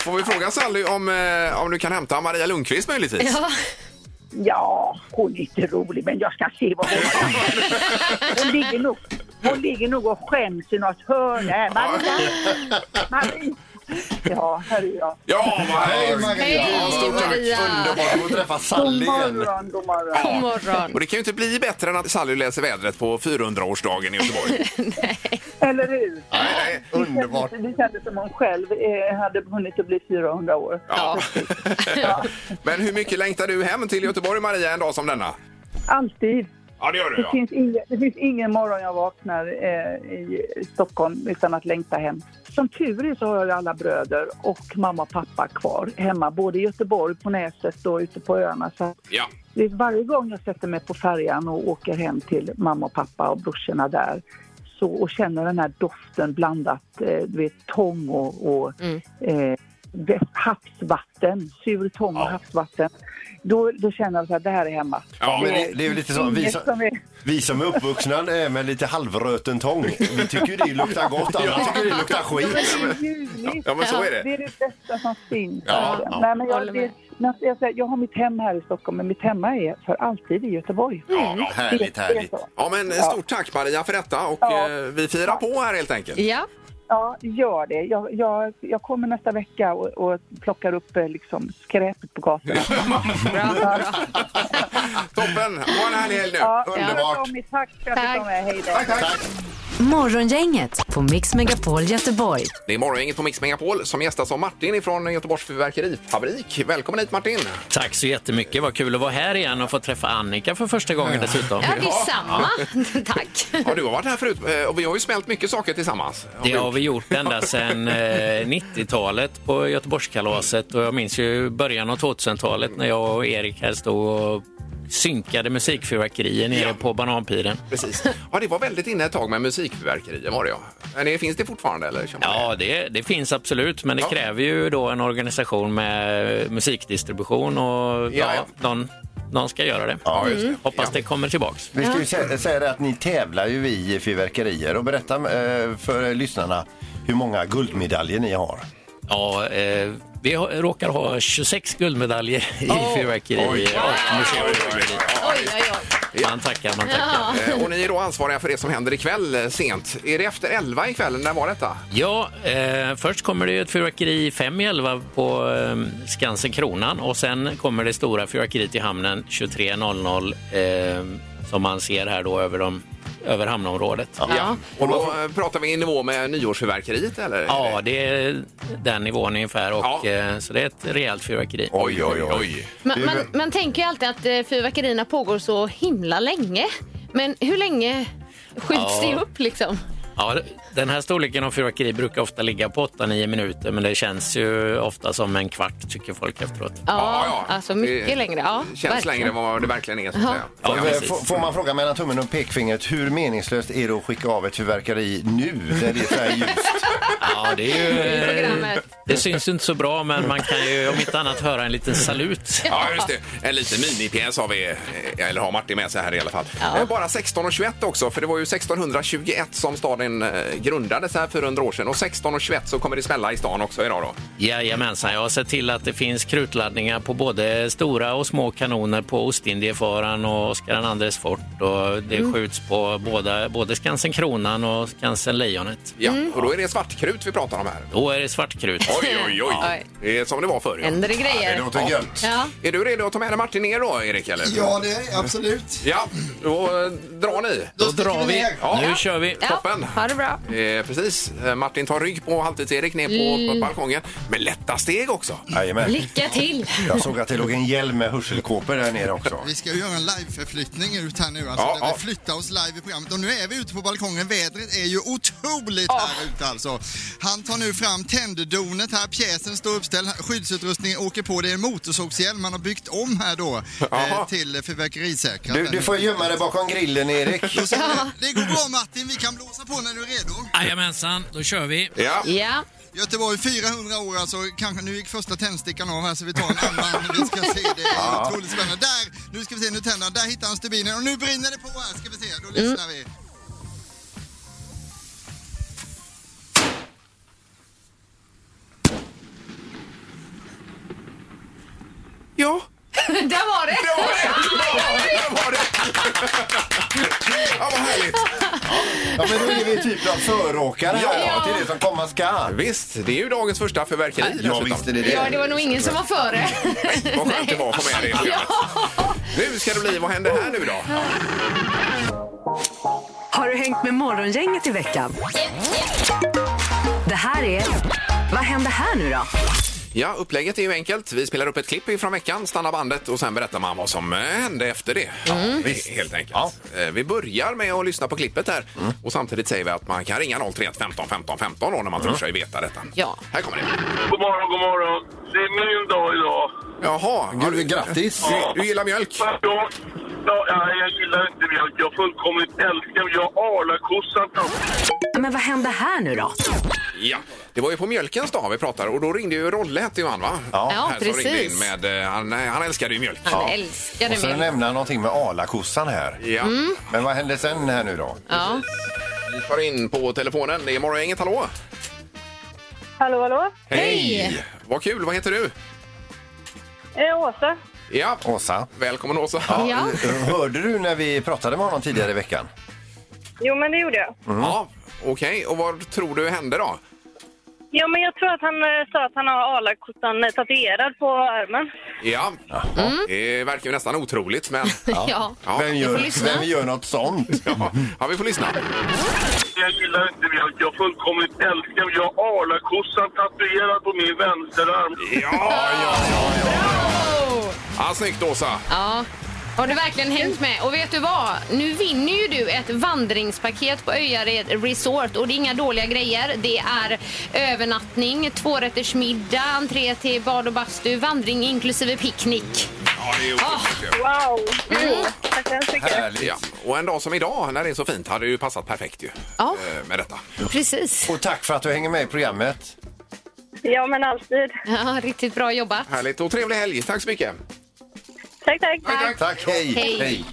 D: Får vi fråga Sally om, eh, om du kan hämta Maria Lundqvist möjligtvis?
F: Ja,
M: Ja, hon är inte rolig, men jag ska se vad hon har hon ligger nog, hon ligger nog och skäms i något hörn här. Maria, Maria,
N: Ja, här är jag.
D: Ja, vad
E: Hej,
D: härligt!
E: Maria.
D: Ja, stort tack.
E: Maria.
D: Underbart att träffa
N: God morgon, god morgon.
D: Ja. Och det kan ju inte bli bättre än att Sally läser vädret på 400-årsdagen i Göteborg.
N: Eller hur?
D: Nej, nej, underbart.
N: Det kändes- det kändes som hon själv eh, hade hunnit att bli 400 år.
D: Ja. Men hur mycket längtar du hem till Göteborg, Maria, en dag som denna?
N: Alltid.
D: Ja, det gör du,
N: Det
D: ja.
N: finns, ingen, det finns ingen morgon jag vaknar eh, i Stockholm utan att längta hem. Som tur är så har jag alla bröder och mamma och pappa kvar hemma, både i Göteborg, på Näset och ute på öarna. Så att
D: Ja.
N: det är varje gång jag sätter mig på färjan och åker hem till mamma och pappa och brorsorna där så, och känner den här doften blandat eh, du vet, tång och, och eh, vä- havsvatten, sur tång och havsvatten. Då, då känner jag så här, det här är hemma.
E: Ja, men det, det är ju lite så. Vi,
N: Inget
E: som-
N: som är-
E: vi som är uppvuxna med lite halvröten tång, vi tycker ju det luktar gott. Alla tycker det luktar skit.
N: Men det är ljuvligt.
E: Ja, men så är det.
N: Det är det bästa som finns.
E: Ja,
N: verkligen.
E: ja.
N: Nej, men
F: Håller
N: jag,
F: med.
N: det, när jag, säger, jag har mitt hem här i Stockholm, men mitt hemma är för alltid i Göteborg.
D: ja.
N: Härligt, härligt.
D: Ja, men stort tack Maria för detta och
N: Ja.
D: eh, vi firar på här helt enkelt.
N: Ja. Ja, gör det. Jag, jag, jag kommer nästa vecka och, och plockar upp eh, liksom, skräpet på gatorna.
D: Toppen! Ha en härlig helg nu!
N: Ja,
D: Underbart!
N: Tommy, tack för att du kom med. Hej då.
C: Morgongänget på Mix Megapol Göteborg.
D: Det är morgongänget på Mix Megapol som gästas av Martin ifrån Göteborgs fyrverkerifabrik. Välkommen hit Martin!
O: Tack så jättemycket. Vad kul att vara här igen och få träffa Annika för första gången dessutom.
F: Ja, det är samma. Tack.
D: Ja, du har varit här förut eh, och vi har ju smält mycket saker tillsammans.
O: Det har vi gjort ända sedan eh, 90-talet på Göteborgskalaset och jag minns ju början av 2000-talet när jag och Erik här stod och synkade musikfyrverkerier nere på Bananpiren.
D: Precis. Ja, det var väldigt inne ett tag med musikfyrverkerier var det ja. Men det- finns det fortfarande eller? kör man det?
O: Ja, det, det finns absolut, men det kräver ju då en organisation med musikdistribution och ja,
E: ja.
O: Någon, någon ska göra det.
E: just det.
O: Hoppas det kommer tillbaks.
E: Vi ska ju sä- säga det att ni tävlar ju i fyrverkerier och berätta eh, för lyssnarna hur många guldmedaljer ni har.
O: Ja, eh, vi har, råkar ha 26 guldmedaljer i fyrverkeri och
D: Oj.
O: musikfyrverkeri. Man tackar, man tackar.
D: Eh, Och ni är då ansvariga för det som händer ikväll eh, sent. Är det efter 11 ikväll? När var detta?
O: Ja, eh, först kommer det ju ett fyrverkeri fem i elva på eh, Skansen Kronan och sen kommer det stora fyrverkeriet i hamnen 23.00 eh, som man ser här då över, de, över hamnområdet.
D: Ja. Och då eh, pratar vi i nivå med nyårsfyrverkeriet eller?
O: Ja, det är den nivån ungefär. Och, eh, Så det är ett rejält fyrverkeri.
D: Oj, oj, oj.
F: Man, man, man tänker ju alltid att eh, fyrverkerierna pågår så himla länge. Men hur länge skjuts
O: Ja.
F: det upp liksom?
O: Ja, den här storleken av fyrverkeri brukar ofta ligga på 8-9 minuter men det känns ju ofta som en kvart tycker folk efteråt.
F: Ja, alltså mycket
D: Det
F: längre. Ja, verkligen.
D: vad det verkligen är.
F: så att Ja. säga.
O: Ja,
E: Får-
O: precis.
E: får, Eh, får man fråga mellan tummen och pekfingret, hur meningslöst är det att skicka av ett fyrverkeri nu när det är så här ljust?
O: Ja, det är
E: I
O: ju... eh,
E: programmet.
O: Det syns ju inte så bra, men man kan ju om inte annat höra en liten salut.
D: Ja, just det. En liten minipjäs har vi, eh, eller har Martin med sig här i alla fall. Eh, Bara 1621 också, för det var ju 1621 som staden eh, grundades här 400 år sedan. Och 1621 så kommer det smälla i stan också idag då.
O: Jajamensan, jag har sett till att det finns krutladdningar på både stora och små kanoner på Ostindiefararen och Oskar IIs fort. Och det
D: Mm.
O: skjuts på båda, både Skansen Kronan och Skansen Lejonet.
D: Ja,
F: Mm.
D: och då är det svartkrut vi pratar om här.
O: Då är det svartkrut.
D: Oj, oj, oj.
F: Oj.
D: Det är som det var förr. ja.
F: Händer det grejer?
D: Ja,
F: Ja. Ja.
D: Är du redo att ta med dig Martin ner då, Erik? Eller?
G: Ja, det är absolut.
D: Ja, då eh, drar ni.
G: Då sticker drar vi vi. iväg.
D: Ja.
G: Nu
O: kör vi.
D: Toppen.
F: Ha det bra.
D: Eh, precis. Eh, Martin tar rygg på Halvtids-Erik ner på
F: Mm.
D: balkongen. Med lätta steg också.
E: Jajamän.
F: Lycka till!
E: Jag såg att det låg en hjälm med hörselkåpor där nere också.
G: Vi ska ju göra en liveförflyttning ut här nu. Alltså,
E: Ja,
G: där
E: ja.
G: vi flyttar oss live i programmet. Och nu är vi ute på balkongen. Vädret är ju otroligt här ute alltså. Han tar nu fram tänderdonet här. Pjäsen står uppställd. Skyddsutrustningen åker på. Det är en motorsågshjälm man har byggt om här då. Eh,
E: Jaha.
G: till eh, fyrverkerisäkrat.
E: Du, du får gömma dig bakom grillen, Erik.
G: Och så- Det går bra Martin. Vi kan blåsa på när du är redo.
O: Jajamensan, då kör vi.
F: Ja.
G: Göteborg 400 år alltså. Kanske, nu gick första tändstickan av här så vi tar en annan. Vi ska se. Det är
P: Ja.
G: otroligt spännande. Där, nu ska vi se, nu tänder han. Där hittar han stubinen och nu brinner det på här. Ska vi se, då
P: Mm.
G: lyssnar vi.
D: Ja.
F: Där var det!
D: Där var det! Där var det! Ja, vad härligt!
E: Ja, men då är vi typ av föråkare här.
D: Ja.
E: Ja. Det är det som komma skall.
D: Visst, det är ju dagens första fyrverkeri.
E: Ja, visst är det
F: Ja, det var nog ingen som var före.
D: Vad skönt det var att få med det i programmet. Nu ska det bli, vad händer här nu då?
C: Har du hängt med Morgongänget i veckan? Det här är... Vad händer här nu då?
D: Ja, upplägget är ju enkelt. Vi spelar upp ett klipp från veckan, stannar bandet och sen berättar man vad som eh, hände efter det. Ja, visst. Helt enkelt. Eh, Vi börjar med att lyssna på klippet här och samtidigt säger vi att man kan ringa 031 15 15 15 då, när man tror sig veta detta.
F: Ja.
D: Här kommer det.
Q: God morgon, god morgon. Det är min dag idag.
D: Jaha. Gud,
E: grattis.
D: Du, du gillar mjölk?
Q: Ja, ja, nej, jag gillar inte mjölk. Jag fullkomligt älskar mjölk. Jag arlar kossan.
C: Men vad händer här nu då?
D: Ja, det var ju på mjölkens dag vi pratade och då ringde ju Rolle hette ju han va?
F: Ja,
D: här som
F: precis.
D: Ringde in med, eh, han, han älskade ju mjölk.
F: Han älskade
E: Och sen
F: mig.
E: nämner han någonting med alakossan här.
D: Ja.
E: Men vad hände sen här nu då?
F: Ja.
D: Vi tar in på telefonen. Det är Morgongänget, hallå!
B: Hallå, hallå?
D: Vad kul, vad heter du?
B: Eh, Åsa?
D: Ja.
E: Åsa.
D: Välkommen Åsa.
E: Ja.
B: Ja.
E: Hörde du när vi pratade med honom tidigare i veckan?
B: Jo, men det gjorde jag.
D: Ja, okej. Och vad tror du hände då?
B: Ja, men jag tror att han eh, sa att han har alakottan eh, tatuerad på armen.
D: Ja,
F: Mm.
D: det verkar ju nästan otroligt men...
F: Ja. Ja.
E: Vem,
D: Vi får
E: gör,
D: lyssna.
E: vem gör något sånt?
D: Ja. ja, vi får lyssna.
Q: Jag gillar inte mjölk. Jag fullkomligt älskar mjölk. Jag arlar kossan tatuerad på min vänsterarm.
D: Ja, ja, ja, Ja, snyggt Åsa!
F: Ja. Har du verkligen hängt med? Och vet du vad? Nu vinner ju du ett vandringspaket på Öjared Resort och det är inga dåliga grejer. Det är övernattning, tvårätters middag, entré till bad och bastu, vandring inklusive picknick.
D: Ja, det är otroligt ju.
B: Wow!
F: Mm.
B: Tack så hemskt mycket.
E: Härligt.
D: Ja. Och en dag som idag när det är så fint hade det ju passat perfekt ju.
F: Ja.
D: eh, Med detta.
F: Precis.
E: Och tack för att du hänger med i programmet.
B: Ja, men alltid.
F: Ja, riktigt bra jobbat.
D: Härligt och trevlig helg. Tack så mycket.
B: Tack, tack.
D: Tack,
E: tack. Hej.
F: Hej. Hej.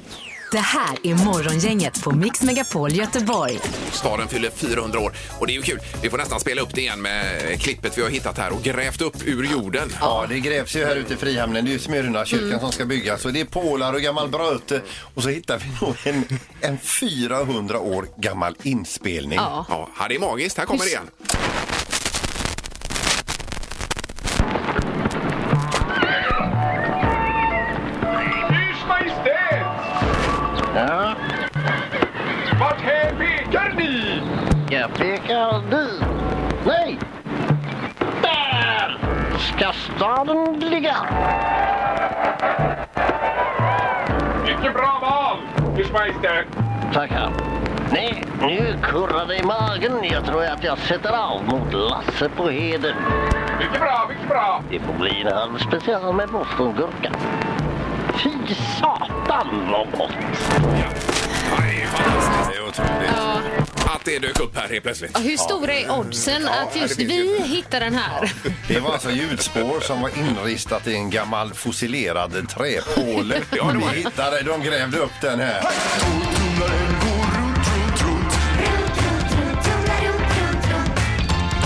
C: Det här är Morgongänget på Mix Megapol Göteborg.
D: Staden fyller 400 år och det är ju kul. Vi får nästan spela upp det igen med eh, klippet vi har hittat här och grävt upp ur jorden.
E: Ja, det grävs ju här ute i Frihamnen. Det är ju Smyrnakyrkan som ska byggas och det är pålar och gammal bröte. Och så hittar vi nog en, en 400 år gammal inspelning.
D: Ja. ja, det är magiskt. Här kommer det igen.
H: Ers Majestät!
I: Ja,
H: Vart hän pekar ni?
I: jag pekar dit. Nej! Där ska staden ligga.
H: Mycket bra val, Ers Majestät.
I: Tackar. Nej, nu kurrar det i magen. Jag tror att jag sätter av mot Lasse på Heden.
H: Mycket bra, mycket bra.
I: Det får bli en halv special med bostongurka. Fy satan vad gott!
E: Det är otroligt.
D: Att det dök upp här helt plötsligt.
F: Ja, Hur stora är oddsen att just vi hittar den här?
E: Det var alltså ljudspår som var inristat i en gammal fossilerad träpåle.
D: Ja, det var det.
E: Vi hittade, de grävde upp den här.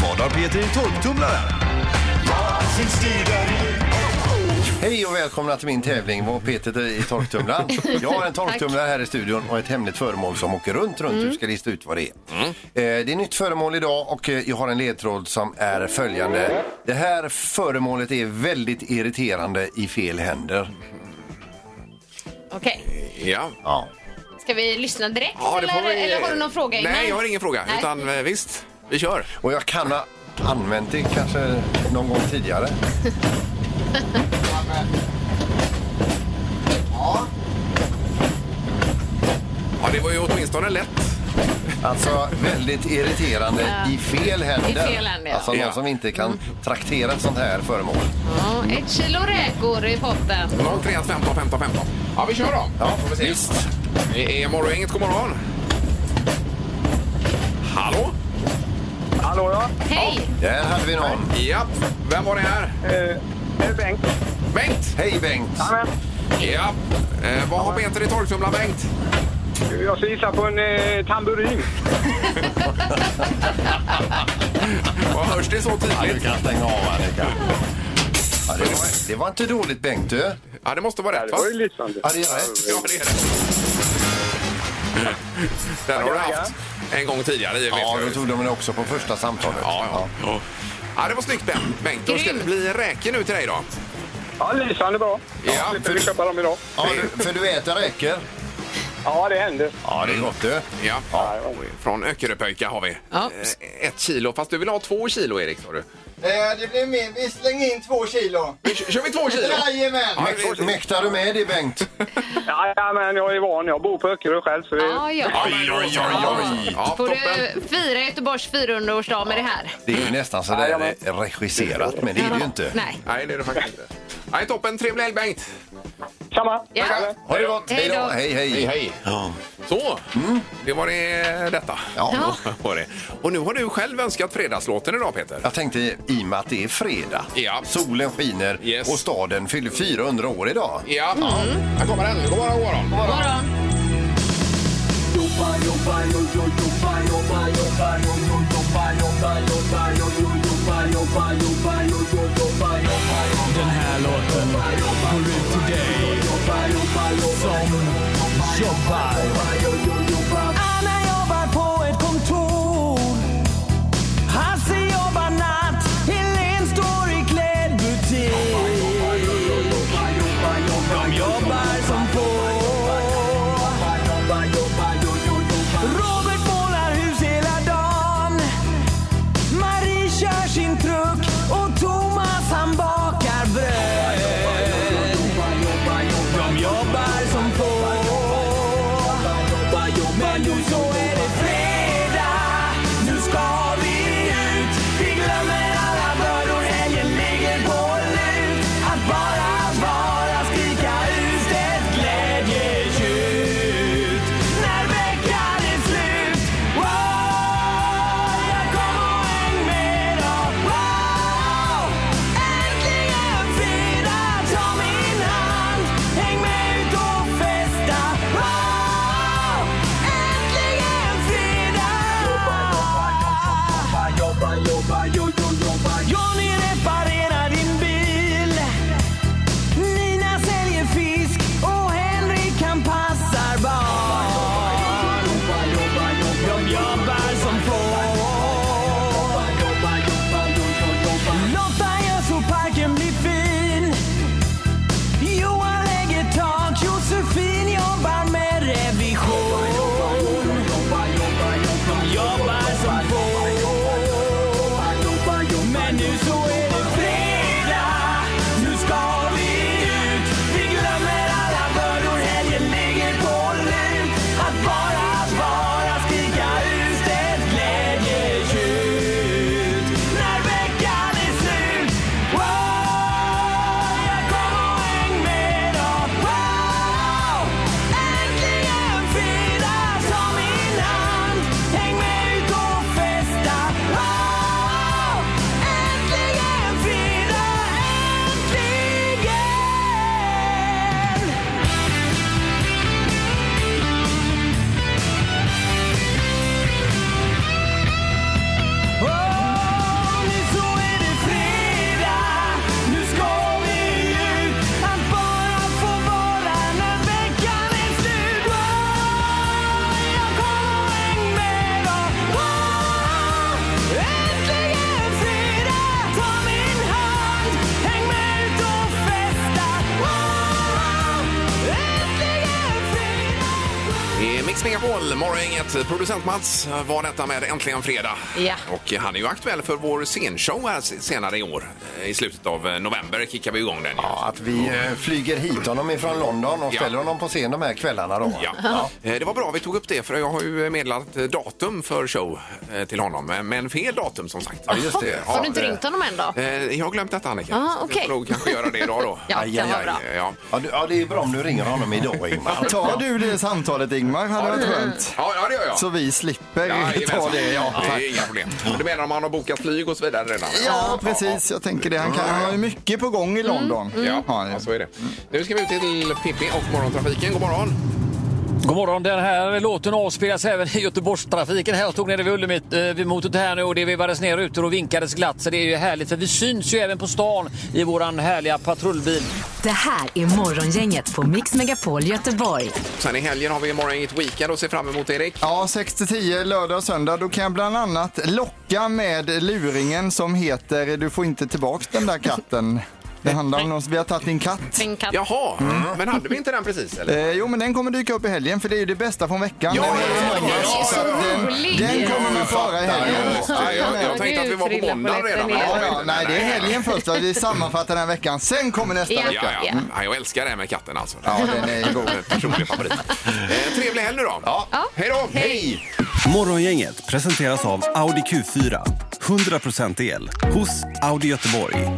J: Vad har Peter i torktumlaren?
E: Hej och välkomna till min tävling Vad Peter i torktumlaren. Jag har en torktumlare här i studion och ett hemligt föremål som åker runt, runt.
D: Mm.
E: Du ska lista ut vad det är. Eh, det är nytt föremål idag och eh, jag har en ledtråd som är följande. Det här föremålet är väldigt irriterande i fel händer.
F: Okej,
D: Ja.
E: Ja.
F: ska vi lyssna direkt
D: Ja, det får
F: eller,
D: vi-
F: eller har du någon fråga innan?
D: Nej, jag har ingen fråga.
F: Nej.
D: Utan eh, visst, vi kör.
E: Och jag kan ha använt det kanske någon gång tidigare.
D: Ja, det var ju åtminstone lätt.
E: Alltså väldigt irriterande i fel händer.
F: I fel händer, ja.
E: Alltså någon
F: Ja.
E: som inte kan traktera ett sånt här föremål.
F: Ja, ett kilo räkor i potten.
D: 031 15 15 15. Ja, vi kör då.
E: Ja,
D: Får vi se. Det är morgongänget. God morgon. Hallå?
Q: Hallå, ja.
F: Hej!
E: Där hade vi någon.
D: Ja, vem var det här?
Q: Det är Eh, Bengt.
D: Bengt!
E: Hej Bengt!
Q: Amen.
D: Ja. Eh, vad har Peter i torktumlaren, Bengt?
Q: Jag ska gissa på en eh, tamburin.
D: Vad hörs det så
E: Ja, du
D: tydligt?
E: kan stänga av Annika. Ja, det, var, det var inte dåligt Bengt du.
D: Ja, det måste vara rätt, va?
Q: lysande.
E: Ja, det är rätt.
D: Ja, det är det. Den har du haft en gång tidigare. i
E: Ja,
D: vet
E: då
D: jag.
E: tog de den också på första samtalet.
D: Ja, ja. ja, det var snyggt Ben- Bengt. Då ska det bli en räke nu till dig då.
R: Ja, lysande bra.
D: Ja,
R: Ja, slipper vi köpa dem idag.
E: Ja, du, för du äter räkor?
R: Ja, det händer.
E: Ja, det är gott du.
D: Ja. Från Öckeröpöjka har vi.
R: Ja.
D: Eh, Ett kilo, fast du vill ha två kilo Erik sa du.
S: Eh, det blir mer. Vi slänger in två kilo.
D: Kör vi två kilo?
S: Jajamän!
E: Mäktar du med det Bengt?
R: Ja, men jag är van. Jag bor på Öckerö själv. Så det...
F: Ja, ja.
E: Oj, oj, oj, oj.
R: Ja,
F: Får du fira Göteborgs 400-årsdag med det här?
E: Det är ju nästan så där regisserat, men det är det ju inte.
F: Nej.
D: Nej, det är det faktiskt inte. Nej, toppen. Trevlig helg Bengt.
R: Samma.
F: Ja.
E: Ha det gott.
F: Hej då.
E: Hej, hej.
D: hej, hej. Så, det var det detta.
E: Ja.
D: Var det. Och nu har du själv önskat fredagslåten idag Peter.
E: Jag tänkte i och med att det är fredag, solen skiner och staden fyller 400 år idag.
D: Ja, här kommer den. God morgon, god morgon. God
F: morgon.
J: Den här låten går ut till dig som jobbar. Anna jobbar på ett kontor. Hasse jobbar natt. Helen står i klädbutik. De jobbar som få. Robert målar hus hela dagen. Marie kör sin truck och Thomas han bakar bröd. De jobbar som få. Men nu så är det fredag. Nu ska vi ut. Vi glömmer alla bördor. Helgen ligger på lut. Att bara vara skrika ut ett glädjetjut. När veckan är slut. Wow, jag kommer och häng med då. Wow, äntligen fredag. Ta min hand. Häng med ut och festa. Wow, äntligen fredag. Johnny reparerar din bil. Nina säljer fisk och Henrik han passar barn. De jobbar som få. Lotta gör så parken blir fin. Johan lägger tak, Josefin jobbar med revision. De jobbar som få. Men nu så är det fredag. Nu ska vi ut. Vi glömmer alla bördor. Helgen ligger på lut. Att bara vara skrika ut ett glädjetjut. När veckan är slut. Wow, jag kommer och häng med då. Wow, äntligen fredag. Ta min hand. Häng med ut och festa. Wow, äntligen fredag. Äntligen. Åh, nu så är det fredag. Nu ska vi ut. Att bara få vara när veckan är slut. Åh, jag kommer och häng med då. Åh, äntligen fredag. Ta min hand. Häng med ut och festa. Åh, äntligen fredag.
D: Det är Mix Megapol, morgongänget. Producent Mats eh, var detta med Äntligen Fredag.
F: Ja.
D: Och han är ju aktuell för vår scenshow här s- senare i år. Eh, I slutet av eh, november kickar vi igång den. Ja,
E: att vi eh, flyger hit honom ifrån London och
D: Ja.
E: ställer honom på scen de här kvällarna då.
D: Ja. Eh, Det var bra vi tog upp det för jag har ju meddelat eh, datum för show eh, till honom. eh, Men fel datum som sagt. Ja,
E: just det.
F: Har du inte ringt honom än då?
D: Eh, Jag har glömt detta Annika.
F: Ah,
D: Så jag
F: okej.
D: får nog kanske göra det idag då.
F: Ja, det var bra.
D: Ja.
E: Ja, du, ja, det är bra om du ringer honom idag Ingmar.
S: Tar du det samtalet Ingmar? Hade
D: Ja,
S: varit
D: det-
S: skönt.
D: Ja, ja, det gör jag.
S: Så vi slipper ta
D: jajamensan.
S: det. Ja,
D: det är inga problem. Men Du menar om han har bokat flyg och så vidare redan?
S: ja precis. Jag tänker det. Han, kan, han har ju mycket på gång i
G: Mm.
S: London.
D: Ja, ja, så är det. Nu ska vi ut till Pippi och morgontrafiken. God morgon!
L: God morgon. Den här låten avspelas även i Göteborgstrafiken. Här stod nere vid Ullemit, eh, vid motet här nu och det vevades ner rutor och vinkades glatt. Så det är ju härligt för vi syns ju även på stan i våran härliga patrullbil.
C: Det här är Morgongänget på Mix Megapol Göteborg.
D: Sen i helgen har vi morgon inget weekend och ser fram emot Erik.
G: Ja, 6 till 10 lördag och söndag. Då kan jag bland annat locka med luringen som heter Du får inte tillbaks den där katten. Det handlar om någon som vi har tagit din katt.
T: En katt.
D: Jaha, men hade vi inte den precis eller?
G: Eh, jo, men den kommer dyka upp i helgen för det är ju det bästa från veckan.
D: Ja,
G: Den-
D: ja, ja, ja.
G: Så att eh,
D: Rolig.
G: den, den kommer man föra i helgen.
D: Ja, jag- jag tänkte att vi var på måndag redan.
G: Ja,
D: Nej,
G: ja, nej, det är helgen först. Va? Vi sammanfattar den här veckan. Sen kommer nästa
D: Ja,
G: vecka.
D: ja.
G: Mm.
D: Ja, jag älskar det här med katten alltså.
G: Ja, den är god.
D: Personlig favorit. Eh, trevlig helg nu då. Ja. Hej då! Hej!
U: Morgongänget presenteras av Audi Q4. 100% el hos Audi Göteborg,